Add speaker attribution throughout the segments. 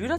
Speaker 1: lytter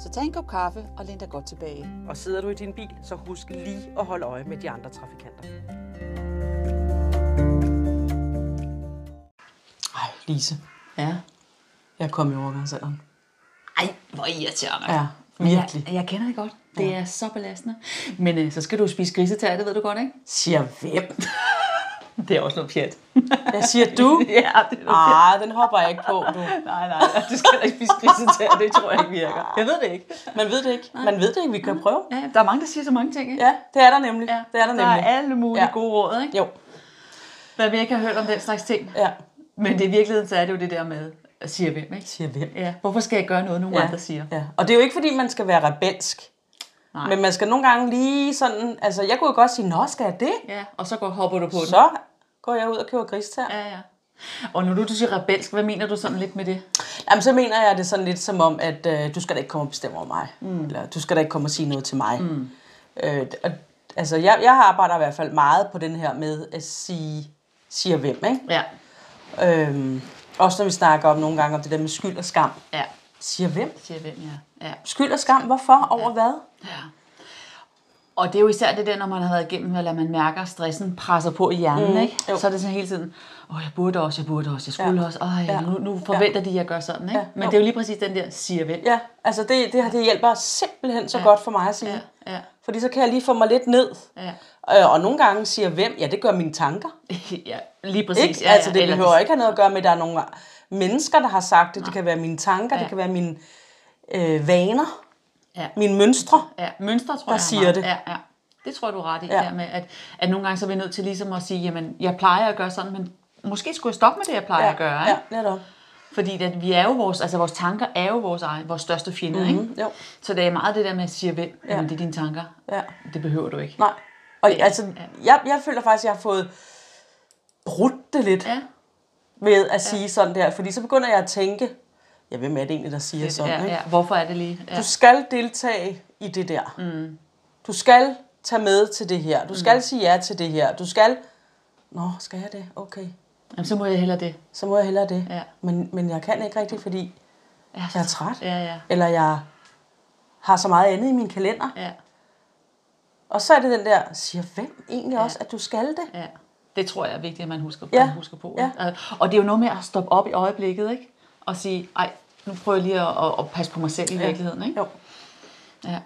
Speaker 2: Så tag en kop kaffe og læn dig godt tilbage.
Speaker 1: Og sidder du i din bil, så husk lige at holde øje med de andre trafikanter.
Speaker 3: Ej, Lise,
Speaker 4: Ja.
Speaker 3: jeg kom i overgangsalderen.
Speaker 4: Ej, hvor irriterende.
Speaker 3: Ja, virkelig.
Speaker 4: Jeg, jeg kender det godt. Det ja. er så belastende. Men øh, så skal du spise grisetær, det ved du godt, ikke?
Speaker 3: Siger hvem?
Speaker 4: Det er også noget pjat.
Speaker 3: Hvad siger du?
Speaker 4: ja, det er noget
Speaker 3: Ah, den hopper jeg ikke på, du.
Speaker 4: Nej, nej, nej, du skal da ikke spise grisetær, det tror jeg ikke
Speaker 2: Ah.
Speaker 4: virker. Jeg ved det ikke.
Speaker 3: Man ved det ikke. Man ved det ikke, vi kan prøve.
Speaker 4: Ja, der er mange, der siger så mange ting, ikke?
Speaker 3: Ja, det er der nemlig. Det er der
Speaker 4: Der
Speaker 3: nemlig.
Speaker 4: er alle mulige
Speaker 3: Ja.
Speaker 4: ja. gode råd, ikke?
Speaker 3: Jo,
Speaker 4: Hvad vi ikke har hørt om den slags ting.
Speaker 3: ja.
Speaker 4: Men det i virkeligheden, så er det jo det der med, at siger hvem, ikke?
Speaker 3: Siger hvem?
Speaker 4: Ja, hvorfor skal jeg gøre noget, nogen ja. andre siger?
Speaker 3: Ja. Og det er jo ikke, fordi man skal være rebelsk.
Speaker 4: Nej.
Speaker 3: Men man skal nogle gange lige sådan... Altså, jeg kunne jo godt sige, nå, skal jeg det?
Speaker 4: Ja, og så går, hopper du på den.
Speaker 3: Så går jeg ud og køber gristær.
Speaker 4: Ja, ja. Og når du, du siger rebelsk, hvad mener du sådan lidt med det?
Speaker 3: Jamen, så mener jeg det sådan lidt som om, at øh, du skal da ikke komme og bestemme over mig. Mm. Eller du skal da ikke komme og sige noget til mig. Mm. Øh, og, altså, jeg, jeg arbejder i hvert fald meget på den her med at sige, siger hvem, ikke?
Speaker 4: Ja,
Speaker 3: Øhm, også når vi snakker om nogle gange om det der med skyld og skam.
Speaker 4: ja.
Speaker 3: Siger hvem?
Speaker 4: Siger hvem, ja. ja.
Speaker 3: Skyld og skam, hvorfor? Over ja. hvad?
Speaker 4: Og det er jo især det der, når man har været igennem, eller man mærker, at stressen presser på i hjernen, mm, ikke?
Speaker 3: jo.
Speaker 4: Så er det sådan hele tiden, åh, jeg burde også, jeg burde også, jeg skulle
Speaker 3: Ja.
Speaker 4: ja. også, åh,
Speaker 3: Ja.
Speaker 4: ja. nu, nu forventer ja. de, at jeg gør sådan, ikke?
Speaker 3: Ja,
Speaker 4: Ja.
Speaker 3: jo.
Speaker 4: Men det er jo lige præcis den der, siger vel.
Speaker 3: Ja, altså det, det, det hjælper simpelthen så ja. godt for mig at sige.
Speaker 4: Ja, ja,
Speaker 3: Fordi så kan jeg lige få mig lidt ned.
Speaker 4: ja.
Speaker 3: Øh, og nogle gange siger hvem, ja, det gør mine tanker.
Speaker 4: ja lige præcis.
Speaker 3: Ikke?
Speaker 4: Ja,
Speaker 3: altså, det
Speaker 4: eller-
Speaker 3: behøver ikke have noget at gøre med, at der er nogle mennesker, der har sagt det. Det kan være mine tanker, det
Speaker 4: Ja.
Speaker 3: kan være mine øh, vaner,
Speaker 4: Ja.
Speaker 3: mine mønstre.
Speaker 4: Ja, mønstre tror
Speaker 3: der
Speaker 4: jeg er
Speaker 3: siger
Speaker 4: meget-
Speaker 3: det.
Speaker 4: Ja, ja. Det tror jeg, du er ret i, ja.
Speaker 3: Ja.
Speaker 4: der med, at, at nogle gange så er vi nødt til ligesom at sige, jamen, jeg plejer at gøre sådan, men måske skulle jeg stoppe med det, jeg plejer ja. at gøre, ikke?
Speaker 3: ja, netop.
Speaker 4: Fordi at vi er jo vores, altså vores tanker er jo vores, egen, vores største fjende, mm-hmm. ikke?
Speaker 3: Mm, jo,
Speaker 4: Så det er meget det der med at sige, hvem, ja. jamen, det er dine tanker.
Speaker 3: ja.
Speaker 4: Det behøver du ikke.
Speaker 3: Nej. Og altså, jeg, jeg føler faktisk, at jeg har fået brudt det lidt ja.
Speaker 4: Ja,
Speaker 3: ved at sige sådan der. Fordi så begynder jeg at tænke, ja, hvem er det egentlig, der siger det, sådan?
Speaker 4: ja,
Speaker 3: ikke?
Speaker 4: ja. Hvorfor er det lige? Ja.
Speaker 3: Du skal deltage i det der. Mm. Du skal tage med til det her. Du skal mm. sige ja til det her. Du skal... Nå, skal jeg det? Okay.
Speaker 4: Jamen, så må jeg hellere det.
Speaker 3: Så må jeg hellere det.
Speaker 4: Ja.
Speaker 3: Men, men jeg kan ikke rigtig, fordi
Speaker 4: Ja,
Speaker 3: jeg er træt.
Speaker 4: Ja, ja,
Speaker 3: Eller jeg har så meget andet i min kalender.
Speaker 4: ja,
Speaker 3: Og så er det den der, siger hvem egentlig ja. også, at du skal det?
Speaker 4: ja. Det tror jeg er vigtigt, at man husker,
Speaker 3: Ja.
Speaker 4: ja. man husker på. ikke? Altså, Og- Og det er jo noget med at stoppe op i øjeblikket, ikke? Og sige, ej, nu prøver jeg lige at, at, at passe på mig selv i virkeligheden, ikke?
Speaker 3: Jo.
Speaker 4: Ja.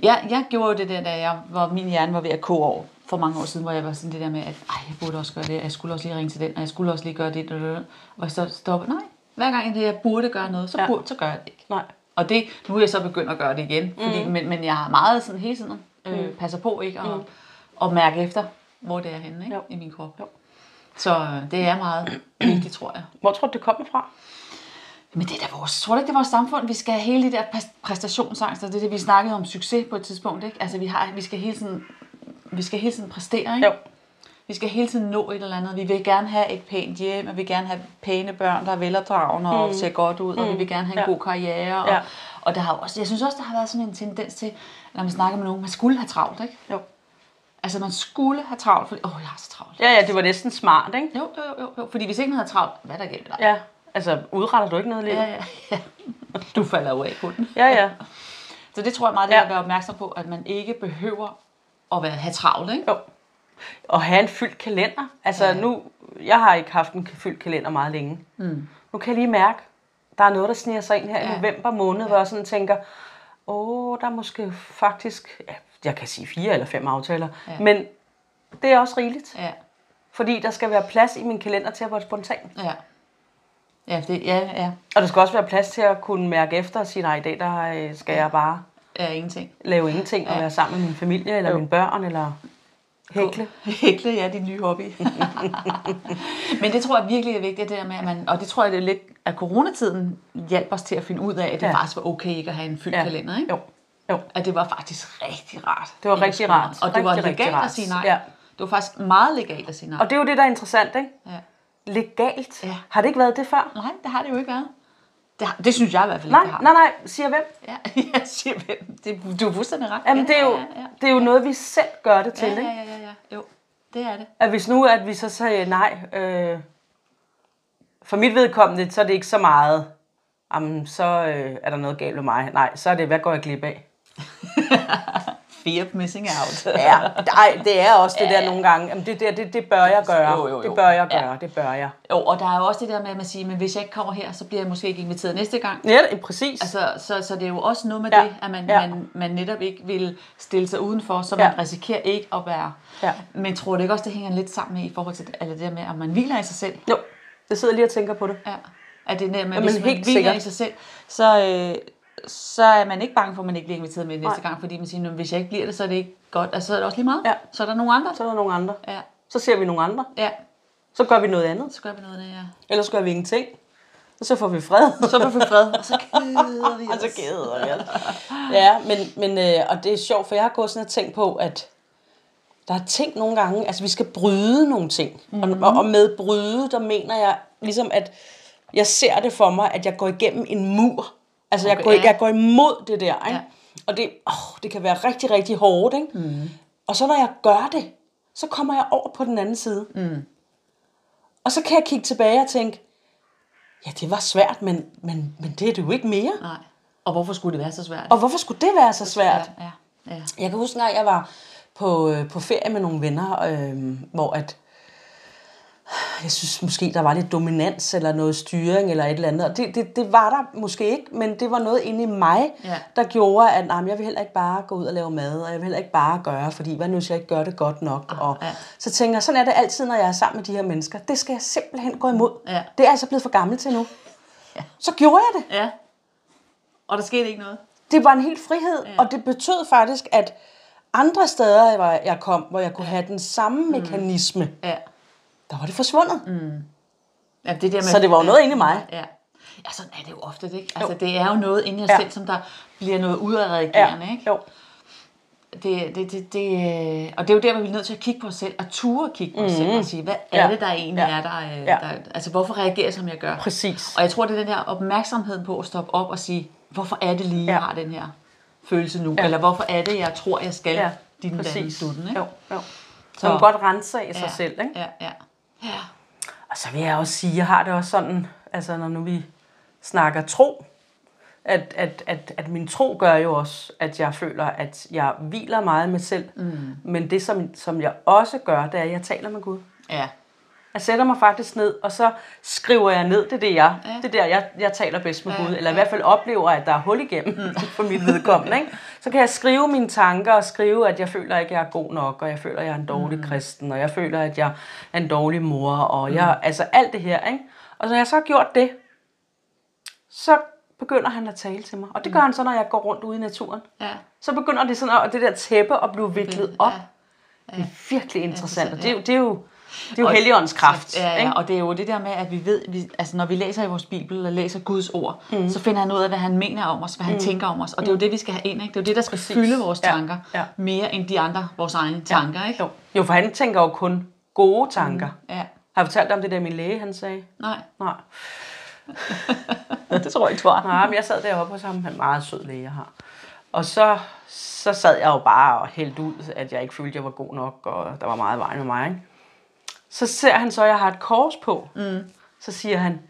Speaker 4: Jeg, jeg gjorde jo det der, da jeg, hvor min hjerne var ved at koge over for mange år siden, hvor jeg var sådan det der med, at Ej, jeg burde også gøre det, og jeg skulle også lige ringe til den, og jeg skulle også lige gøre det, og- og så stoppe. Nej, hver gang det, jeg burde gøre noget, så, ja. burde, så gør jeg det ikke.
Speaker 3: Nej.
Speaker 4: Og det, nu er jeg så begyndt at gøre det igen, fordi, mm. men, men jeg har meget sådan hele tiden øh, passer på ikke og, mm. og mærke efter, hvor det er henne ikke?
Speaker 3: Jo.
Speaker 4: i min krop.
Speaker 3: Jo.
Speaker 4: Så øh, det er meget vigtigt, tror jeg.
Speaker 3: Hvor tror du, det kommer fra?
Speaker 4: Men det er da vores, tror du ikke, det er vores samfund? Vi skal have hele det der præs- præstationsangst, og det er det, vi snakkede om succes på et tidspunkt, ikke? Altså, vi, har, vi, skal hele tiden, vi skal hele tiden præstere, ikke?
Speaker 3: Jo.
Speaker 4: Vi skal hele tiden nå et eller andet. Vi vil gerne have et pænt hjem, og vi vil gerne have pæne børn, der er velopdragende og ser godt ud, og vi vil gerne have en
Speaker 3: Ja.
Speaker 4: god karriere. Og,
Speaker 3: Mm. Ja.
Speaker 4: og der har jo også, jeg synes også, der har været sådan en tendens til, når man snakker med nogen, man skulle have travlt, ikke?
Speaker 3: Jo.
Speaker 4: Altså, man skulle have travlt, fordi, åh, oh, jeg har så travlt.
Speaker 3: Ja, ja, det var næsten smart, ikke?
Speaker 4: Jo, jo, jo, jo, fordi hvis ikke man havde travlt, hvad er der galt med dig?
Speaker 3: Ja. Altså, udretter du ikke noget lige?
Speaker 4: Ja, ja, ja. Du falder jo af på den.
Speaker 3: ja. ja.
Speaker 4: Så det tror jeg meget, det er
Speaker 3: Ja.
Speaker 4: at være opmærksom på, at man ikke behøver at være, have travlt, ikke?
Speaker 3: Jo. Og have en fyldt kalender. Altså, ja. nu... Jeg har ikke haft en fyldt kalender meget længe. Mm. Nu kan jeg lige mærke, der er noget, der sniger sig ind her ja. i
Speaker 4: Ja.
Speaker 3: november måned, ja. hvor jeg sådan tænker, åh, der er måske faktisk... Ja, jeg kan sige fire eller fem aftaler. Ja.
Speaker 4: Ja.
Speaker 3: Men det er også rigeligt.
Speaker 4: Ja,
Speaker 3: Fordi der skal være plads i min kalender til at være spontan.
Speaker 4: ja. Ja, det, ja, ja,
Speaker 3: Og der skal også være plads til at kunne mærke efter og sige, nej, i dag der øh, skal jeg bare
Speaker 4: ja, ingenting.
Speaker 3: lave ingenting og være sammen med min familie eller mine børn eller hækle.
Speaker 4: Hækle, ja, din nye hobby. Men det tror jeg virkelig er vigtigt, det der med, at man, og det tror jeg, det er lidt, at coronatiden hjalp os til at finde ud af, at det
Speaker 3: Ja.
Speaker 4: ja. faktisk var okay ikke at have en fyldt
Speaker 3: Ja.
Speaker 4: kalender, ikke?
Speaker 3: Jo. Jo.
Speaker 4: At det var faktisk rigtig rart.
Speaker 3: Det var
Speaker 4: ikke at
Speaker 3: rigtig
Speaker 4: skulle
Speaker 3: rart.
Speaker 4: nej. Og det var
Speaker 3: Rigtig, rigtig
Speaker 4: legalt
Speaker 3: rart.
Speaker 4: at sige nej.
Speaker 3: Ja.
Speaker 4: Det var faktisk meget legalt at sige nej.
Speaker 3: Og det er jo det, der er interessant, ikke?
Speaker 4: Ja.
Speaker 3: Legalt.
Speaker 4: Ja.
Speaker 3: Har det ikke været det før?
Speaker 4: Nej, det har det jo ikke været. Det, har, det synes jeg i hvert fald
Speaker 3: Nej,
Speaker 4: ikke, det har.
Speaker 3: nej, nej, siger hvem?
Speaker 4: Ja, jeg siger, hvem? det, du er fuldstændig ret.
Speaker 3: Jamen,
Speaker 4: ja,
Speaker 3: det, er jo,
Speaker 4: Ja, ja,
Speaker 3: det er jo noget, vi selv gør det til,
Speaker 4: ja,
Speaker 3: ikke?
Speaker 4: ja, ja, ja, ja. Jo, det er det.
Speaker 3: At hvis nu, at vi så sagde nej, øh, for mit vedkommende, så er det ikke så meget, jamen, så øh, er der noget galt med mig. Nej, så er det, hvad går jeg glip af?
Speaker 4: Fear of missing out.
Speaker 3: Ja, nej, det er også det der nogle gange. Jamen, det, der, det, det bør jeg gøre.
Speaker 4: Jo, jo, jo.
Speaker 3: Det bør jeg
Speaker 4: Ja.
Speaker 3: gøre, det bør jeg.
Speaker 4: Jo, og der er jo også det der med, at man siger, men hvis jeg ikke kommer her, så bliver jeg måske ikke inviteret næste gang.
Speaker 3: Ja, præcis.
Speaker 4: Altså, så, så det er jo også noget med
Speaker 3: Ja,
Speaker 4: ja. det, at man,
Speaker 3: ja.
Speaker 4: ja. man, man netop ikke vil stille sig udenfor, så
Speaker 3: Ja.
Speaker 4: man risikerer ikke at være.
Speaker 3: Ja.
Speaker 4: Men tror du ikke også, det hænger lidt sammen med i forhold til det, eller det der med, at man hviler i sig selv?
Speaker 3: Jo, jeg sidder lige og tænker på det.
Speaker 4: Ja. At det der med,
Speaker 3: Jamen,
Speaker 4: at hvis man
Speaker 3: helt
Speaker 4: hviler
Speaker 3: sikkert.
Speaker 4: i sig selv, så, øh, så er man ikke bange for, at man ikke bliver inviteret med næste gang, fordi man siger, "Nå, men hvis jeg ikke bliver det, så er det ikke godt, og så er det også lige meget.
Speaker 3: Ja.
Speaker 4: Så er der nogle andre.
Speaker 3: Så er der nogle andre.
Speaker 4: Ja.
Speaker 3: Så ser vi nogle andre.
Speaker 4: ja,
Speaker 3: Så gør vi noget andet.
Speaker 4: så gør vi noget af det, ja.
Speaker 3: Ellers gør vi ingenting. Og så får vi fred.
Speaker 4: Så er vi fred, og så keder vi
Speaker 3: Og
Speaker 4: os.
Speaker 3: så keder vi os. Ja, men, men øh, og det er sjovt, for jeg har gået sådan og tænkt på, at der er ting nogle gange, altså vi skal bryde nogle ting.
Speaker 4: Mhm.
Speaker 3: Mm-hmm. Og, og med bryde, der mener jeg ligesom, at jeg ser det for mig, at jeg går igennem en mur. Altså okay, jeg,
Speaker 4: Okay,
Speaker 3: går,
Speaker 4: ja.
Speaker 3: jeg går imod det der, ikke?
Speaker 4: Ja.
Speaker 3: Og det, åh, det kan være rigtig, rigtig hårdt, ikke?
Speaker 4: Mhm.
Speaker 3: Mm. Og så når jeg gør det, så kommer jeg over på den anden side. Mm.
Speaker 4: Mhm.
Speaker 3: Og så kan jeg kigge tilbage og tænke, ja, det var svært, men, men, men det er det jo ikke mere.
Speaker 4: Nej. Og hvorfor skulle det være så svært?
Speaker 3: Og hvorfor skulle det være så svært?
Speaker 4: Ja, ja, ja.
Speaker 3: Jeg kan huske, når jeg var på, øh, på ferie med nogle venner, øh, hvor at, jeg synes måske, der var lidt dominans eller noget styring eller et eller andet. Og det, det, det var der måske ikke, men det var noget inde i mig,
Speaker 4: Ja.
Speaker 3: der gjorde, at nej, men jeg vil heller ikke bare gå ud og lave mad, og jeg vil heller ikke bare gøre, fordi hvad nu, hvis jeg ikke gør det godt nok? Og
Speaker 4: Ah, ja.
Speaker 3: så tænker jeg, sådan er det altid, når jeg er sammen med de her mennesker. Det skal jeg simpelthen gå imod.
Speaker 4: Ja.
Speaker 3: Det er jeg altså blevet for gammel til nu. Så gjorde jeg det.
Speaker 4: ja. Og der skete ikke noget?
Speaker 3: det var en helt frihed, ja. og det betød faktisk, at andre steder, hvor jeg kom, hvor jeg kunne have den samme mekanisme,
Speaker 4: Ja.
Speaker 3: der var det forsvundet. Mm.
Speaker 4: ja det der med,
Speaker 3: Så det var jo noget inde i mig.
Speaker 4: Ja. Ja, sådan er det jo ofte, ikke? Altså, det er jo noget inde i os
Speaker 3: Ja.
Speaker 4: ja. selv, som der bliver noget udadreagerende, ikke?
Speaker 3: Jo.
Speaker 4: Det, det, det, det, øh, og det er jo der, hvor vi er nødt til at kigge på os selv, og ture at kigge på os selv og sige, hvad er
Speaker 3: Mhm. Ja.
Speaker 4: det, der egentlig
Speaker 3: Ja.
Speaker 4: er der, øh,
Speaker 3: Ja.
Speaker 4: der? Altså, hvorfor reagerer jeg, som jeg gør?
Speaker 3: Præcis.
Speaker 4: Og jeg tror, det er den her opmærksomhed på at stoppe op og sige, hvorfor er det lige, jeg
Speaker 3: Ja.
Speaker 4: har den her følelse nu? Eller hvorfor er det, jeg tror, jeg skal ja. din
Speaker 3: præcis.
Speaker 4: dutten, ikke?
Speaker 3: Jo, jo. Så
Speaker 4: Så-
Speaker 3: man godt rense af sig
Speaker 4: ja.
Speaker 3: selv. Ikke?
Speaker 4: Ja, ja. ja.
Speaker 3: Og så vil jeg også sige, jeg har det også sådan, altså når nu vi snakker tro, at, at, at, at min tro gør jo også, at jeg føler, at jeg hviler meget med selv. Mm. Men det, som, som jeg også gør, det er, at jeg taler med Gud.
Speaker 4: ja.
Speaker 3: Jeg sætter mig faktisk ned, og så skriver jeg ned, det er det, jeg,
Speaker 4: Ja.
Speaker 3: det er der, jeg, jeg taler bedst med
Speaker 4: Ja, Mm.
Speaker 3: Gud, eller
Speaker 4: ja.
Speaker 3: i hvert fald oplever, at der er hul igennem for mit vedkommende. Ikke? Så kan jeg skrive mine tanker og skrive, at jeg føler ikke, jeg er god nok, og jeg føler, jeg er en dårlig mm. kristen, og jeg føler, at jeg er en dårlig mor, og jeg,
Speaker 4: Mm.
Speaker 3: altså alt det her. Ikke? Og når jeg så har gjort det, så begynder han at tale til mig. Og
Speaker 4: Mm.
Speaker 3: det gør han så, når jeg går rundt ude i naturen.
Speaker 4: ja.
Speaker 3: Så begynder det sådan at, det der tæppe at blive viklet op.
Speaker 4: Ja.
Speaker 3: Det er virkelig interessant,
Speaker 4: interessant,
Speaker 3: og det er jo, det er jo, det er jo heligåndens kraft.
Speaker 4: Ja,
Speaker 3: ikke?
Speaker 4: ja, og det er jo det der med, at vi ved, vi, altså når vi læser i vores bibel og læser Guds ord, mm. så finder han ud af, hvad han mener om os, hvad han mm. tænker om os. Og det er jo det, vi skal have ind. Ikke? Det er jo det, der skal
Speaker 3: Præcis.
Speaker 4: Præcis. fylde vores
Speaker 3: Ja,
Speaker 4: tanker
Speaker 3: ja.
Speaker 4: mere end de andre, vores egne tanker. Ikke?
Speaker 3: Jo. jo, for han tænker jo kun gode tanker. Mm.
Speaker 4: Ja.
Speaker 3: Har jeg fortalt dig om det der, min læge han sagde?
Speaker 4: Nej,
Speaker 3: Nej.
Speaker 4: det tror jeg ikke, du har.
Speaker 3: Nej, men jeg sad deroppe hos ham. Han er en meget sød læge, jeg har. Og så, så sad jeg jo bare og hældte ud, at jeg ikke følte, jeg var god nok, og der var meget i vejen med mig. Ikke? Så ser han så, at jeg har et kors på. Mm. Så siger han,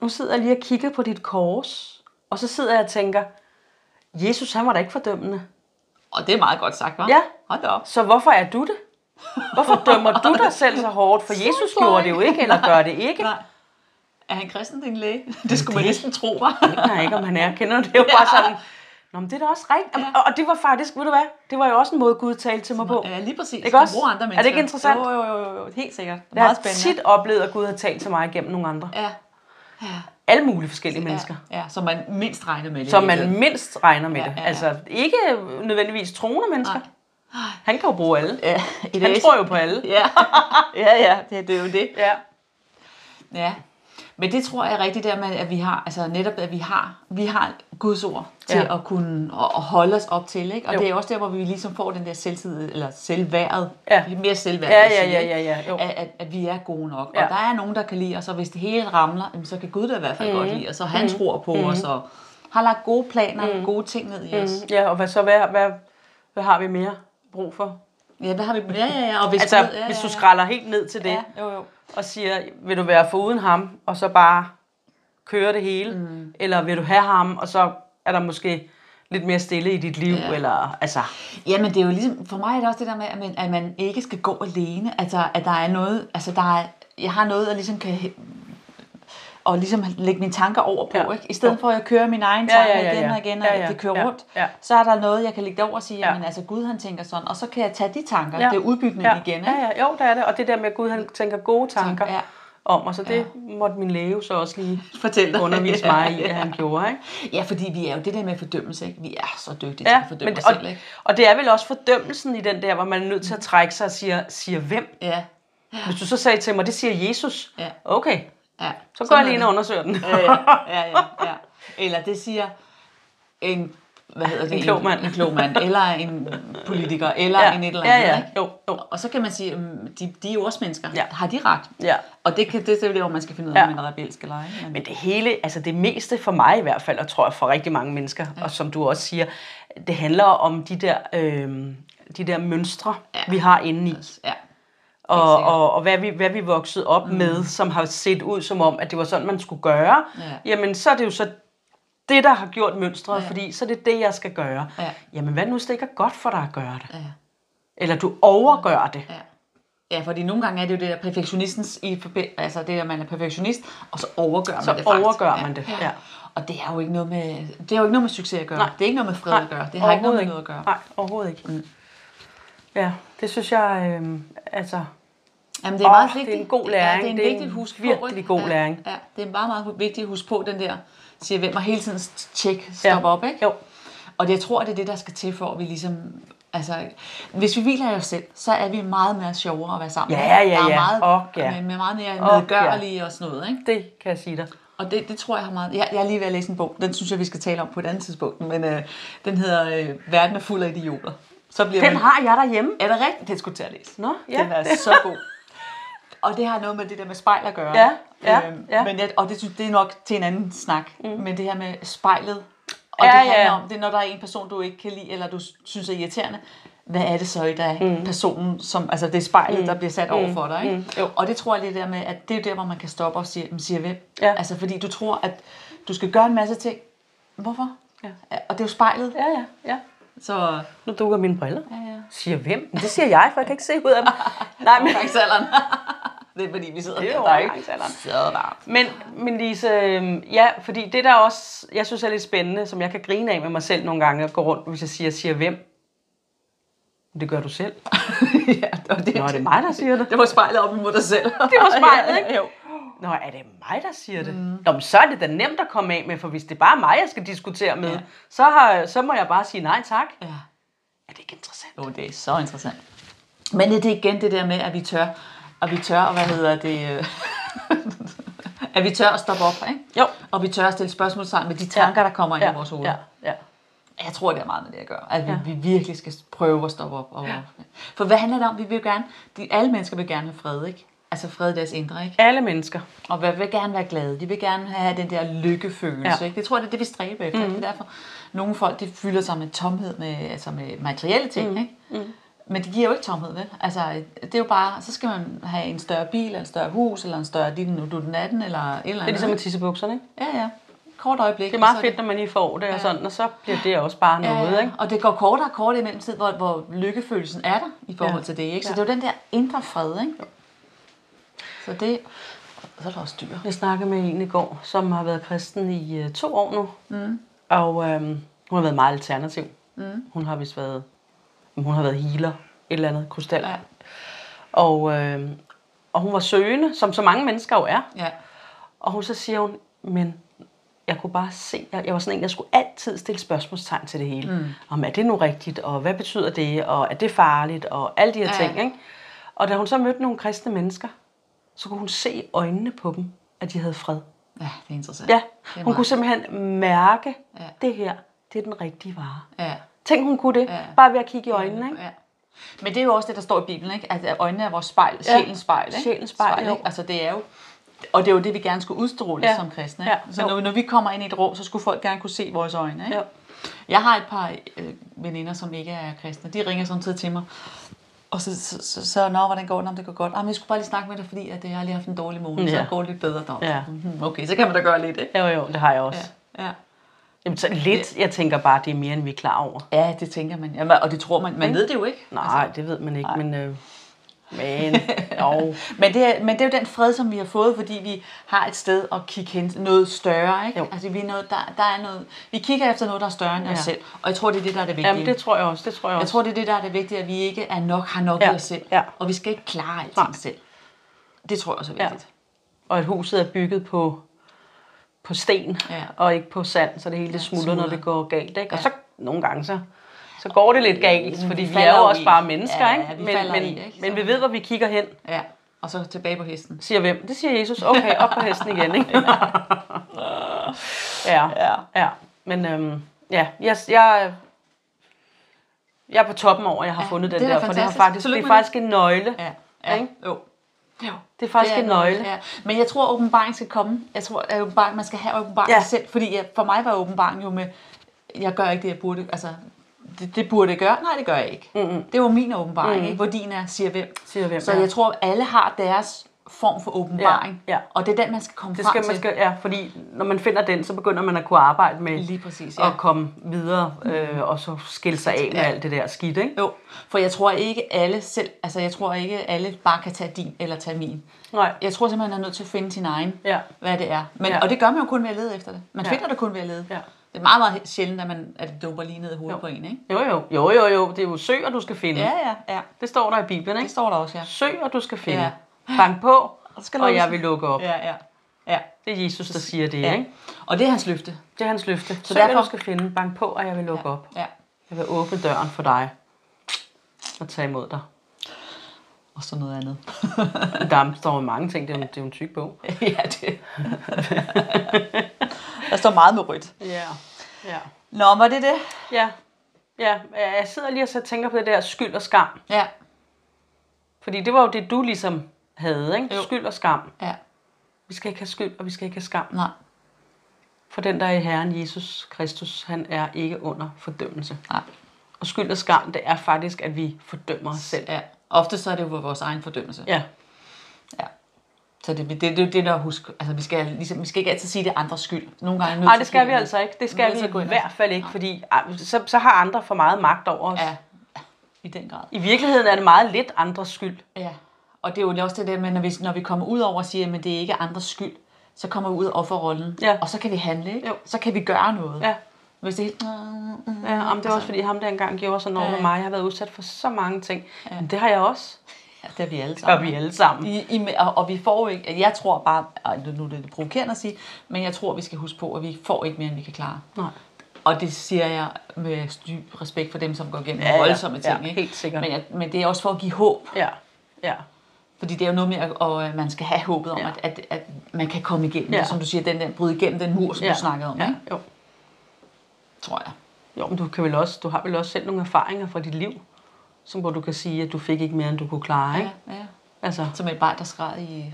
Speaker 3: nu sidder jeg lige og kigger på dit kors, og så sidder jeg og tænker, Jesus, han var da ikke fordømmende.
Speaker 4: Og det er meget godt sagt, hva'?
Speaker 3: Ja.
Speaker 4: Hold da op.
Speaker 3: Så hvorfor er du det? Hvorfor dømmer du dig selv så hårdt? For Jesus
Speaker 4: tror jeg
Speaker 3: gjorde det jo
Speaker 4: ikke.
Speaker 3: ikke, eller gør det ikke.
Speaker 4: Nej. Er han kristen, din læge? Det skulle man næsten tro, var.
Speaker 3: Nej, ikke om han er. Kender du det? Det er jo bare sådan, Nå, men det er da også rigtigt. Ja. Og det var faktisk, ved du hvad, det var jo også en måde, Gud talte til mig på.
Speaker 4: Ja, lige præcis.
Speaker 3: Ikke
Speaker 4: Man
Speaker 3: også?
Speaker 4: bruger andre
Speaker 3: Er det
Speaker 4: mennesker.
Speaker 3: ikke interessant?
Speaker 4: Jo, jo, jo, jo. Helt sikkert. Det er
Speaker 3: Jeg har
Speaker 4: meget spændende.
Speaker 3: tit oplevet, at Gud har talt til mig gennem nogle andre.
Speaker 4: Ja. Ja.
Speaker 3: Alle mulige forskellige mennesker.
Speaker 4: Ja, ja, som man mindst regner med. i
Speaker 3: Som
Speaker 4: det hele
Speaker 3: man mindst regner med
Speaker 4: Ja,
Speaker 3: det.
Speaker 4: ja, ja.
Speaker 3: Altså ikke nødvendigvis troende mennesker.
Speaker 4: Nej.
Speaker 3: Han kan jo bruge alle.
Speaker 4: Ja, i
Speaker 3: Han
Speaker 4: dag-
Speaker 3: tror jo på alle.
Speaker 4: Ja, ja, ja det, det er jo det.
Speaker 3: Ja.
Speaker 4: Ja. Men det tror jeg rigtigt der med, at vi har, altså netop at vi har, vi har Guds ord til
Speaker 3: Ja.
Speaker 4: ja. at kunne og, og holde os op til, ikke? Og jo. det er også der, hvor vi ligesom får den der selvtid, eller selvværdet,
Speaker 3: Ja.
Speaker 4: mere selvværd.
Speaker 3: Ja,
Speaker 4: vil jeg
Speaker 3: ja,
Speaker 4: sige,
Speaker 3: ja,
Speaker 4: ikke?
Speaker 3: ja, ja, jo.
Speaker 4: At, at, at, vi er gode nok.
Speaker 3: Ja.
Speaker 4: Og der er nogen, der kan lide os, og hvis det hele ramler, jamen, så kan Gud da i hvert fald mm. godt lide os, og han mm. tror på mm. os, og har lagt gode planer, mm. gode ting ned i os.
Speaker 3: Ja, og hvad så, hvad, hvad, hvad har vi mere brug for?
Speaker 4: Ja, hvad har vi? Ja, ja, ja. Og hvis
Speaker 3: Mm. Altså,
Speaker 4: Gud- ja, ja, ja.
Speaker 3: hvis du skralder helt ned til det,
Speaker 4: Ja, jo, jo.
Speaker 3: og siger, vil du være foruden ham, og så bare køre det hele, mm. eller vil du have ham, og så er der måske lidt mere stille i dit liv, ja.
Speaker 4: Ja.
Speaker 3: eller altså...
Speaker 4: Jamen, det er jo ligesom, for mig er det også det der med, at man, at man ikke skal gå alene. Altså, at der er noget, altså der er, jeg har noget, at ligesom kan og ligesom lægge mine tanker over på,
Speaker 3: Ja.
Speaker 4: ja. ikke? I stedet for at jeg kører mine egne
Speaker 3: Ja,
Speaker 4: tanker
Speaker 3: ja, ja,
Speaker 4: igen
Speaker 3: ja.
Speaker 4: og igen, og
Speaker 3: Ja, ja,
Speaker 4: det kører
Speaker 3: ja,
Speaker 4: rundt,
Speaker 3: ja.
Speaker 4: så er der noget, jeg kan lægge det over og sige,
Speaker 3: Ja.
Speaker 4: jamen altså Gud han tænker sådan, og så kan jeg tage de tanker,
Speaker 3: Ja.
Speaker 4: det er udbytning
Speaker 3: ja.
Speaker 4: igen, ikke?
Speaker 3: Ja, ja, jo, der er det. Og det der med, at Gud han tænker gode tanker ja.
Speaker 4: ja.
Speaker 3: om, og så det ja. måtte min læge så også lige
Speaker 4: Fortæl dig.
Speaker 3: undervise mig i, at han gjorde, ikke?
Speaker 4: Ja, fordi vi er jo det der med fordømmelse, ikke? Vi er så dygtige til
Speaker 3: Ja,
Speaker 4: at fordømme
Speaker 3: men,
Speaker 4: os
Speaker 3: og,
Speaker 4: selv, ikke?
Speaker 3: og det er vel også fordømmelsen i den der, hvor man er nødt til at trække sig og siger, siger hvem?
Speaker 4: Ja,
Speaker 3: Hvis du så sagde til mig, det siger Jesus.
Speaker 4: Ja.
Speaker 3: Okay,
Speaker 4: ja.
Speaker 3: så går
Speaker 4: Sådan er
Speaker 3: jeg lige ind
Speaker 4: det.
Speaker 3: og undersøger den.
Speaker 4: ja, Øh, ja, ja, ja, ja. Eller det siger en, hvad hedder det?
Speaker 3: En klog mand.
Speaker 4: En, en klog mand, eller en politiker, eller
Speaker 3: ja.
Speaker 4: ja. en et eller
Speaker 3: ja,
Speaker 4: andet.
Speaker 3: ja,
Speaker 4: Ikke?
Speaker 3: jo, jo.
Speaker 4: Og så kan man sige, mm, de, de er jo også mennesker.
Speaker 3: Ja.
Speaker 4: Har de ret?
Speaker 3: Ja.
Speaker 4: Og det, kan, det er det, hvor man skal finde ud af,
Speaker 3: Ja.
Speaker 4: om man er rebelsk eller ej. Men,
Speaker 3: Men det hele, altså det meste for mig i hvert fald, og tror jeg for rigtig mange mennesker, ja. og som du også siger, det handler om de der, øh, de der mønstre, ja. vi har inde i.
Speaker 4: ja.
Speaker 3: og,
Speaker 4: sikkert.
Speaker 3: og, og hvad vi hvad vi voksede op mm. med, som har set ud som om, at det var sådan, man skulle gøre,
Speaker 4: Ja.
Speaker 3: jamen så er det jo så det, der har gjort mønstret, ja.
Speaker 4: Ja.
Speaker 3: fordi så er det det, jeg skal gøre.
Speaker 4: Ja.
Speaker 3: Jamen hvad nu, hvis det ikke er godt for dig at gøre det?
Speaker 4: Ja.
Speaker 3: Eller du overgør det.
Speaker 4: Ja. Ja, fordi nogle gange er det jo det der perfektionistens, i, forbi- altså det der, man er perfektionist, og så overgør man
Speaker 3: Så
Speaker 4: det faktisk.
Speaker 3: overgør man det, ja.
Speaker 4: Og det er jo ikke noget med, det er jo ikke noget med succes at gøre.
Speaker 3: Nej.
Speaker 4: Det er ikke noget med fred at gøre. Det har ikke noget med noget at gøre.
Speaker 3: Nej, overhovedet ikke. Mm. Ja, det synes jeg, øh, altså...
Speaker 4: Jamen, det er meget
Speaker 3: Åh,
Speaker 4: vigtigt.
Speaker 3: det er en god
Speaker 4: Ja,
Speaker 3: læring.
Speaker 4: det er en
Speaker 3: Det er
Speaker 4: vigtig
Speaker 3: en
Speaker 4: husk på,
Speaker 3: virkelig
Speaker 4: ikke?
Speaker 3: god
Speaker 4: ja,
Speaker 3: læring.
Speaker 4: Ja, det er meget, meget vigtigt at huske på, den der siger hvem, og hele tiden tjek, stop
Speaker 3: Ja.
Speaker 4: op, ikke?
Speaker 3: Jo.
Speaker 4: Og det, jeg tror, det er det, der skal til for, at vi ligesom... Altså, hvis vi hviler i os selv, så er vi meget mere sjovere at være sammen
Speaker 3: Ja,
Speaker 4: med.
Speaker 3: ja,
Speaker 4: der er
Speaker 3: ja.
Speaker 4: Meget,
Speaker 3: Og ja.
Speaker 4: Med, med meget mere
Speaker 3: Og ja.
Speaker 4: medgørlige og sådan noget, ikke?
Speaker 3: Det kan jeg sige dig.
Speaker 4: Og det, det tror jeg har meget... Jeg, jeg er lige ved at læse en bog. Den synes jeg, vi skal tale om på et andet tidspunkt. Men øh, den hedder øh, Verden er fuld af idioter. Så bliver
Speaker 3: Den
Speaker 4: man...
Speaker 3: har jeg derhjemme.
Speaker 4: Er det rigtigt? Det skulle jeg til at læse.
Speaker 3: Nå, ja.
Speaker 4: Den er så god. Og det har noget med det der med spejl at gøre. Øhm,
Speaker 3: Ja, ja, ja.
Speaker 4: Men jeg, og det, synes- det er nok til en anden snak. Mm. Men det her med spejlet, og
Speaker 3: Ja,
Speaker 4: ja, det handler
Speaker 3: ja.
Speaker 4: ja. om, det er, når der er en person, du ikke kan lide, eller du synes er irriterende, hvad er det så i der mm. personen, som, altså det er spejlet, mm. der bliver sat over for dig. Ikke?
Speaker 3: Mm. Jo.
Speaker 4: Og det tror jeg lidt der med, at det er jo der, hvor man kan stoppe og sige, "Men siger hvem?
Speaker 3: Ja.
Speaker 4: Altså fordi du tror, at du skal gøre en masse ting. Hvorfor?
Speaker 3: Ja.
Speaker 4: Og det er jo spejlet.
Speaker 3: Ja, ja, ja.
Speaker 4: Så
Speaker 3: Nu dukker mine briller.
Speaker 4: ja, ja.
Speaker 3: Siger hvem? Men det siger jeg, for jeg kan ikke se ud af dem. Nej, men,
Speaker 4: overgangsalderen. det er fordi, vi sidder
Speaker 3: Det er
Speaker 4: her, der er ikke
Speaker 3: overgangsalderen.
Speaker 4: så varmt.
Speaker 3: men, men Lise, øhm, ja, fordi det der også, jeg synes er lidt spændende, som jeg kan grine af med mig selv nogle gange, at gå rundt, hvis jeg siger, siger hvem. Men Det gør du selv.
Speaker 4: ja, og det,
Speaker 3: Nå, er det mig, der siger det?
Speaker 4: det var spejlet op imod dig selv.
Speaker 3: Det var spejlet,
Speaker 4: Ja,
Speaker 3: ikke?
Speaker 4: Jo.
Speaker 3: Nå, er det mig, der siger det? Mm. Nå, men så er det da nemt at komme af med, for hvis det bare er mig, jeg skal diskutere med, ja.
Speaker 4: Ja.
Speaker 3: så, har, så må jeg bare sige nej tak.
Speaker 4: Ja.
Speaker 3: Er det ikke interessant?
Speaker 4: Jo, det er så interessant. Men det er igen det der med, at vi tør, og vi tør, og hvad hedder det, øh, at vi tør at stoppe op, ikke?
Speaker 3: Jo.
Speaker 4: Og vi tør at stille spørgsmål sammen med de tanker, der kommer ind
Speaker 3: Ja,
Speaker 4: i vores hoved.
Speaker 3: ja, ja.
Speaker 4: Jeg tror, det er meget med det, jeg gør. At vi, ja. vi virkelig skal prøve at stoppe op. Og, For hvad handler det om? Vi vil jo gerne, de, alle mennesker vil gerne have fred, ikke? Altså fred i deres indre, ikke?
Speaker 3: Alle mennesker.
Speaker 4: Og vil, vil gerne være glade. De vil gerne have den der lykkefølelse.
Speaker 3: Ja.
Speaker 4: Ja. Ikke? Det tror jeg, det er det, vi stræber efter. Mm. Det er derfor, nogle folk de fylder sig med tomhed, med, altså med materielle ting. Mm. Ikke? Mm. Men det giver jo ikke tomhed, vel? Altså, det er jo bare, så skal man have en større bil, eller et større hus, eller en større din, nu du den natten, eller et eller andet.
Speaker 3: Det er ligesom med tissebukserne, ikke?
Speaker 4: Ja, ja. Kort øjeblik.
Speaker 3: Det er
Speaker 4: og
Speaker 3: meget
Speaker 4: så
Speaker 3: fedt, når man lige får det og sådan, og så bliver det også bare noget, ikke?
Speaker 4: Og det går kortere og kortere i mellemtid, hvor, hvor lykkefølelsen er der i forhold
Speaker 3: Ja.
Speaker 4: ja. til det. Ikke? Så
Speaker 3: Ja.
Speaker 4: ja. det er jo den der indre fred, ikke? Så det... Så er der også dyr.
Speaker 3: Jeg snakkede med en i går, som har været kristen i øh, to år nu. Mm. Og øhm, hun har været meget alternativ. Mm. Hun har vist været, hun har været healer, et eller andet krystal. Ja.
Speaker 4: Ja.
Speaker 3: Og, øhm, og hun var søgende, som så mange mennesker jo er.
Speaker 4: Ja.
Speaker 3: Og hun så siger hun, men jeg kunne bare se, jeg, jeg var sådan en, jeg skulle altid stille spørgsmålstegn til det hele. Mm. Om er det nu rigtigt, og hvad betyder det, og er det farligt, og alle de her ja.
Speaker 4: Ja.
Speaker 3: ting. Ikke? Og da hun så mødte nogle kristne mennesker, så kunne hun se i øjnene på dem, at at de havde fred.
Speaker 4: Ja, det er interessant.
Speaker 3: Ja,
Speaker 4: Det er
Speaker 3: hun kunne
Speaker 4: meget-
Speaker 3: simpelthen mærke,
Speaker 4: Ja.
Speaker 3: det her, det er den rigtige vare.
Speaker 4: Ja.
Speaker 3: Tænk, hun kunne det,
Speaker 4: Ja.
Speaker 3: bare ved at kigge i øjnene, ikke?
Speaker 4: Ja. Men det er jo også det, der står i Bibelen, ikke? At øjnene er vores spejl, sjælens spejl, ikke?
Speaker 3: sjælens spejl, jo.
Speaker 4: ikke? Altså det er jo, og det er jo det, vi gerne skulle udstråle
Speaker 3: Ja.
Speaker 4: som kristne. Ikke?
Speaker 3: Ja,
Speaker 4: Så
Speaker 3: jo.
Speaker 4: når, når vi kommer ind i et rum, så skulle folk gerne kunne se vores øjne. Ikke?
Speaker 3: Jo.
Speaker 4: Jeg har et par øh, veninder, som ikke er kristne. De ringer samtidig til mig. Og så, så, så, så nå, hvordan går det? Om det går godt. Jamen, jeg skulle bare lige snakke med dig, fordi at, øh, jeg har lige haft en dårlig måned, så
Speaker 3: Ja.
Speaker 4: det går lidt bedre. Dog.
Speaker 3: Ja.
Speaker 4: Mhm, Okay, så kan man da gøre lidt, ikke?
Speaker 3: Jo, jo, det har jeg også. Ja.
Speaker 4: Ja.
Speaker 3: Jamen, så lidt, jeg tænker bare, det er mere, end vi er klar over.
Speaker 4: ja, det tænker man. Jamen, og det tror man. Man ved det jo ikke.
Speaker 3: Nej, altså, det ved man ikke, nej. men... Øh, men, jo.
Speaker 4: Men det, er, men det er jo den fred, som vi har fået, fordi vi har et sted at kigge hen noget større. Ikke?
Speaker 3: Jo.
Speaker 4: Altså, vi, er noget, der, der er noget, vi kigger efter noget, der er større end ja. os
Speaker 3: Ja.
Speaker 4: selv. Og jeg tror, det er det, der er det vigtige.
Speaker 3: Jamen, det tror jeg også, det tror jeg
Speaker 4: jeg
Speaker 3: også.
Speaker 4: tror, det er det, der er det vigtige, at vi ikke er nok, har nok ja.
Speaker 3: Ja,
Speaker 4: i os selv.
Speaker 3: ja.
Speaker 4: Og vi skal ikke klare alting
Speaker 3: Nej.
Speaker 4: selv. Det tror jeg også er
Speaker 3: Ja.
Speaker 4: vigtigt.
Speaker 3: Og at huset er bygget på, på sten,
Speaker 4: Ja.
Speaker 3: ja. og ikke på sand, så det hele det
Speaker 4: Ja,
Speaker 3: smuldrer, når
Speaker 4: smuldrer.
Speaker 3: det går galt. Ikke? Og
Speaker 4: Ja.
Speaker 3: så nogle gange, så, så går det lidt galt, fordi vi,
Speaker 4: falder
Speaker 3: er jo
Speaker 4: jo
Speaker 3: også
Speaker 4: i.
Speaker 3: bare mennesker,
Speaker 4: Ja, ja,
Speaker 3: ikke?
Speaker 4: vi
Speaker 3: men,
Speaker 4: falder
Speaker 3: men,
Speaker 4: i, ikke?
Speaker 3: men
Speaker 4: Så-
Speaker 3: vi ved, hvor vi kigger hen,
Speaker 4: Ja. Og så tilbage på hesten.
Speaker 3: siger hvem. Det siger Jesus. Okay, op på hesten igen, ikke? ja.
Speaker 4: Ja.
Speaker 3: ja. Men øhm, ja, jeg, jeg, jeg er på toppen over, at jeg har
Speaker 4: Ja,
Speaker 3: fundet den
Speaker 4: det er da
Speaker 3: der, for det, har
Speaker 4: fantastisk.
Speaker 3: faktisk, det
Speaker 4: Tillykke
Speaker 3: er
Speaker 4: med det.
Speaker 3: faktisk en nøgle.
Speaker 4: Ja. ja.
Speaker 3: Ikke?
Speaker 4: Jo. Jo.
Speaker 3: Det er faktisk en nøgle.
Speaker 4: Ja. Men jeg tror, at åbenbaring skal komme. Jeg tror, at åbenbaring, man skal have åbenbaring ja.
Speaker 3: Ja.
Speaker 4: selv. Fordi jeg, for mig var åbenbaring jo med, jeg gør ikke det, jeg burde. Altså, det, det burde jeg gøre. Nej, det gør jeg ikke. Mm-hmm. Det var min åbenbaring, mm-hmm. ikke? hvor din er, siger hvem.
Speaker 3: Siger hvem,
Speaker 4: Så
Speaker 3: ja.
Speaker 4: jeg tror, at alle har deres form for åbenbaring.
Speaker 3: Ja, ja.
Speaker 4: Og det er den, man skal komme
Speaker 3: Det
Speaker 4: frem
Speaker 3: skal man
Speaker 4: til.
Speaker 3: skal, ja, fordi når man finder den, så begynder man at kunne arbejde med
Speaker 4: Lige præcis, ja.
Speaker 3: at komme videre øh, og så skille sig af med
Speaker 4: Ja.
Speaker 3: alt det der skidt, ikke?
Speaker 4: Jo, for jeg tror ikke alle selv, altså jeg tror ikke alle bare kan tage din eller tage min.
Speaker 3: Nej.
Speaker 4: Jeg tror simpelthen, man er nødt til at finde sin egen,
Speaker 3: Ja.
Speaker 4: hvad det er. Men, ja.
Speaker 3: Ja.
Speaker 4: Og det gør man jo kun ved at lede efter det. Man ja.
Speaker 3: Ja.
Speaker 4: finder det kun ved at lede.
Speaker 3: Ja.
Speaker 4: Det er meget, meget sjældent, at, man, at det dumper lige ned i hovedet jo.
Speaker 3: Jo. Mm.
Speaker 4: på en, ikke?
Speaker 3: Jo, jo, jo, jo, jo. Det er jo søger, du skal finde.
Speaker 4: Ja, ja, ja.
Speaker 3: Det står der i Bibelen,
Speaker 4: Det
Speaker 3: ikke?
Speaker 4: står der også, ja.
Speaker 3: Søger, du skal finde.
Speaker 4: Ja.
Speaker 3: Ja. Bank på,
Speaker 4: Og
Speaker 3: og,
Speaker 4: skal
Speaker 3: skal
Speaker 4: lukkes.
Speaker 3: og jeg vil lukke op. Ja.
Speaker 4: Ja, ja. Ja,
Speaker 3: Det er Jesus, der siger det,
Speaker 4: ja.
Speaker 3: ikke?
Speaker 4: Og det er hans løfte.
Speaker 3: Det er hans løfte. Så
Speaker 4: derfor-
Speaker 3: derfor du skal finde. Bank på, og jeg vil lukke ja. op.
Speaker 4: Ja.
Speaker 3: Jeg vil åbne døren for dig og tage imod dig.
Speaker 4: Og så noget andet.
Speaker 3: Der er- står jo mange ting. Det er jo, det er jo en tyk bog.
Speaker 4: ja, det. der står meget med rødt.
Speaker 3: Ja. Ja.
Speaker 4: Nå, var det det?
Speaker 3: Ja. Ja, jeg sidder lige og så tænker på det der skyld og skam.
Speaker 4: Ja,
Speaker 3: Fordi det var jo det, du ligesom havde, ikke?
Speaker 4: Jo.
Speaker 3: Jo. Skyld og skam.
Speaker 4: ja.
Speaker 3: Vi skal ikke have skyld, og vi skal ikke have skam.
Speaker 4: Nej,
Speaker 3: For den, der er i Herren Jesus Kristus, han er ikke under fordømmelse.
Speaker 4: nej.
Speaker 3: Og skyld og skam, det er faktisk, at vi fordømmer os selv.
Speaker 4: Ja. Ofte så er det jo vores egen fordømmelse.
Speaker 3: Ja,
Speaker 4: Ja. Så det, det, det, det er jo det, der er at huske. Altså, vi skal, ligesom, vi skal ikke altid sige, at det er andres skyld. Nogle gange er vi nødt
Speaker 3: Nej,
Speaker 4: til
Speaker 3: det
Speaker 4: at
Speaker 3: skal
Speaker 4: kigge
Speaker 3: vi
Speaker 4: ind.
Speaker 3: altså ikke. Det
Speaker 4: Vi er
Speaker 3: skal
Speaker 4: nødt
Speaker 3: vi
Speaker 4: til at gå
Speaker 3: i
Speaker 4: ind og-
Speaker 3: hvert fald ikke, fordi ej, så, så har andre for meget magt over os.
Speaker 4: Ja, i den grad.
Speaker 3: I virkeligheden er det meget lidt andres skyld.
Speaker 4: Ja. Og det er jo også det der med, når vi, når vi kommer ud over og siger, at det er ikke andres skyld, så kommer vi ud af offerrollen,
Speaker 3: Ja.
Speaker 4: og så kan vi handle, ikke?
Speaker 3: Jo.
Speaker 4: så kan vi gøre noget.
Speaker 3: Ja.
Speaker 4: Hvis det er helt...
Speaker 3: Ja, jamen, det er også fordi ham der engang gjorde sådan noget
Speaker 4: Mm. altså. Ja.
Speaker 3: med mig. Jeg har været udsat for så mange ting. Men det har jeg også.
Speaker 4: Ja, det er vi alle
Speaker 3: Og
Speaker 4: sammen.
Speaker 3: vi alle sammen.
Speaker 4: I, i, og, og vi får jo ikke, jeg tror bare, ej, nu- nu er det lidt provokerende at sige, men jeg tror, vi skal huske på, at vi får ikke mere, end vi kan klare.
Speaker 3: Nej.
Speaker 4: Og det siger jeg med dyb respekt for dem, som går igennem
Speaker 3: Ja, ja.
Speaker 4: voldsomme ting.
Speaker 3: Ja,
Speaker 4: ikke?
Speaker 3: helt sikkert.
Speaker 4: Men, jeg, men det er også for at give håb.
Speaker 3: Ja, ja.
Speaker 4: Fordi det er jo noget med, at og, øh, man skal have håbet om, ja.
Speaker 3: Ja.
Speaker 4: at, at, at man kan komme igennem ja.
Speaker 3: Ja.
Speaker 4: det, som du siger, den der, bryde igennem den mur, som ja.
Speaker 3: ja.
Speaker 4: du snakkede om, ja.
Speaker 3: Ja,
Speaker 4: ikke?
Speaker 3: jo.
Speaker 4: tror jeg.
Speaker 3: Jo, men du, kan vel også, du har vel også selv nogle erfaringer fra dit liv, som hvor du kan sige, at du fik ikke mere, end du kunne klare, ikke?
Speaker 4: Ja, ja.
Speaker 3: Altså,
Speaker 4: Som et barn, der skræd i,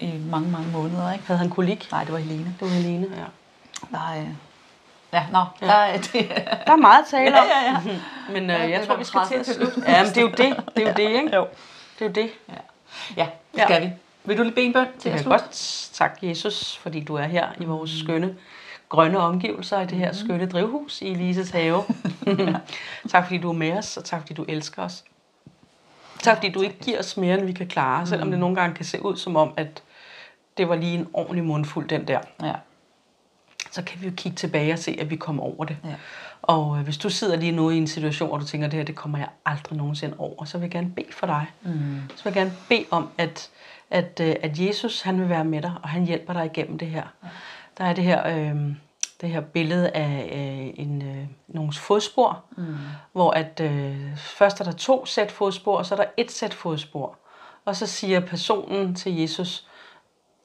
Speaker 4: i mange, mange måneder, ikke?
Speaker 3: havde han kolik?
Speaker 4: Nej, det var Helene.
Speaker 3: Det var Helene, ja.
Speaker 4: Nej. Ja, nå, ja. der er det.
Speaker 3: Der er meget at tale om,
Speaker 4: Ja, ja.
Speaker 3: men
Speaker 4: Ja,
Speaker 3: øh, jeg
Speaker 4: det
Speaker 3: tror,
Speaker 4: var
Speaker 3: vi skal til at
Speaker 4: 30.
Speaker 3: slutte. Ja, men det er jo det. Det er jo det, ikke?
Speaker 4: Jo.
Speaker 3: Det er jo det.
Speaker 4: Ja, ja det
Speaker 3: Ja.
Speaker 4: skal vi. Vil du lige bede en bøn til
Speaker 3: Det
Speaker 4: at
Speaker 3: er Mm.
Speaker 4: slutte?
Speaker 3: godt. Tak, Jesus, fordi du er her i vores skønne grønne omgivelser i det her skønne drivhus i Elises have. tak, fordi du er med os, og tak, fordi du elsker os. Tak, Mm. fordi du ikke giver os mere, end vi kan klare, selvom det nogle gange kan se ud som om, at det var lige en ordentlig mundfuld, den der.
Speaker 4: Ja.
Speaker 3: Så kan vi jo kigge tilbage og se, at vi kommer over det.
Speaker 4: Ja.
Speaker 3: Og øh, hvis du sidder lige nu i en situation, hvor du tænker, det her, det kommer jeg aldrig nogensinde over, så vil jeg gerne bede for dig. Mm. Så vil jeg gerne bede om, at, at, øh, at Jesus, han vil være med dig, og han hjælper dig igennem det her. Der er det her, øh, det her billede af øh, en, øh, nogle fodspor, mm. hvor at, øh, først er der to sæt fodspor, og så er der et sæt fodspor. Og så siger personen til Jesus,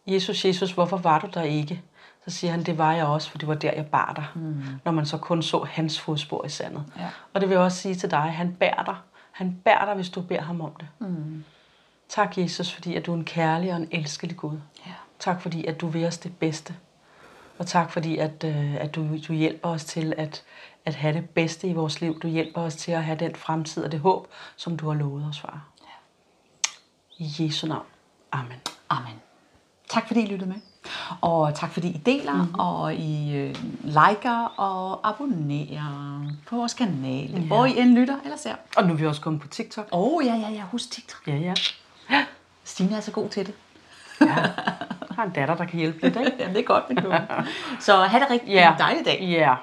Speaker 3: Jesus, Jesus, hvorfor var du der ikke? Så siger han, det var jeg også, for det var der, jeg bar dig. Mm. Når man så kun så hans fodspor i sandet.
Speaker 4: Ja.
Speaker 3: Og det vil jeg også sige til dig, han bærer dig. Han bærer dig, hvis du beder ham om det. Mm. Tak, Jesus, fordi at du er en kærlig og en elskelig Gud.
Speaker 4: Ja.
Speaker 3: Tak, fordi at du vil os det bedste. Og tak, fordi at, øh, at du, du hjælper os til at, at have det bedste i vores liv. Du hjælper os til at have den fremtid og det håb, som du har lovet os, far. Ja. I Jesu navn. Amen.
Speaker 4: Amen. Tak fordi I lyttede med. Og tak fordi I deler, mm-hmm. og I øh, liker og abonnerer på vores kanal, yeah. hvor I end lytter eller ser.
Speaker 3: Og nu er vi også kommet på TikTok.
Speaker 4: Åh, oh, ja, ja, ja, husk TikTok.
Speaker 3: Ja, ja.
Speaker 4: Stine er så god til det.
Speaker 3: Jeg har en datter, der kan hjælpe lidt, ikke?
Speaker 4: Jamen, det er godt med klubben. Så have det rigtig
Speaker 3: Ja.
Speaker 4: yeah. dejlig dag.
Speaker 3: Ja.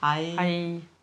Speaker 4: Hej.
Speaker 3: Hej.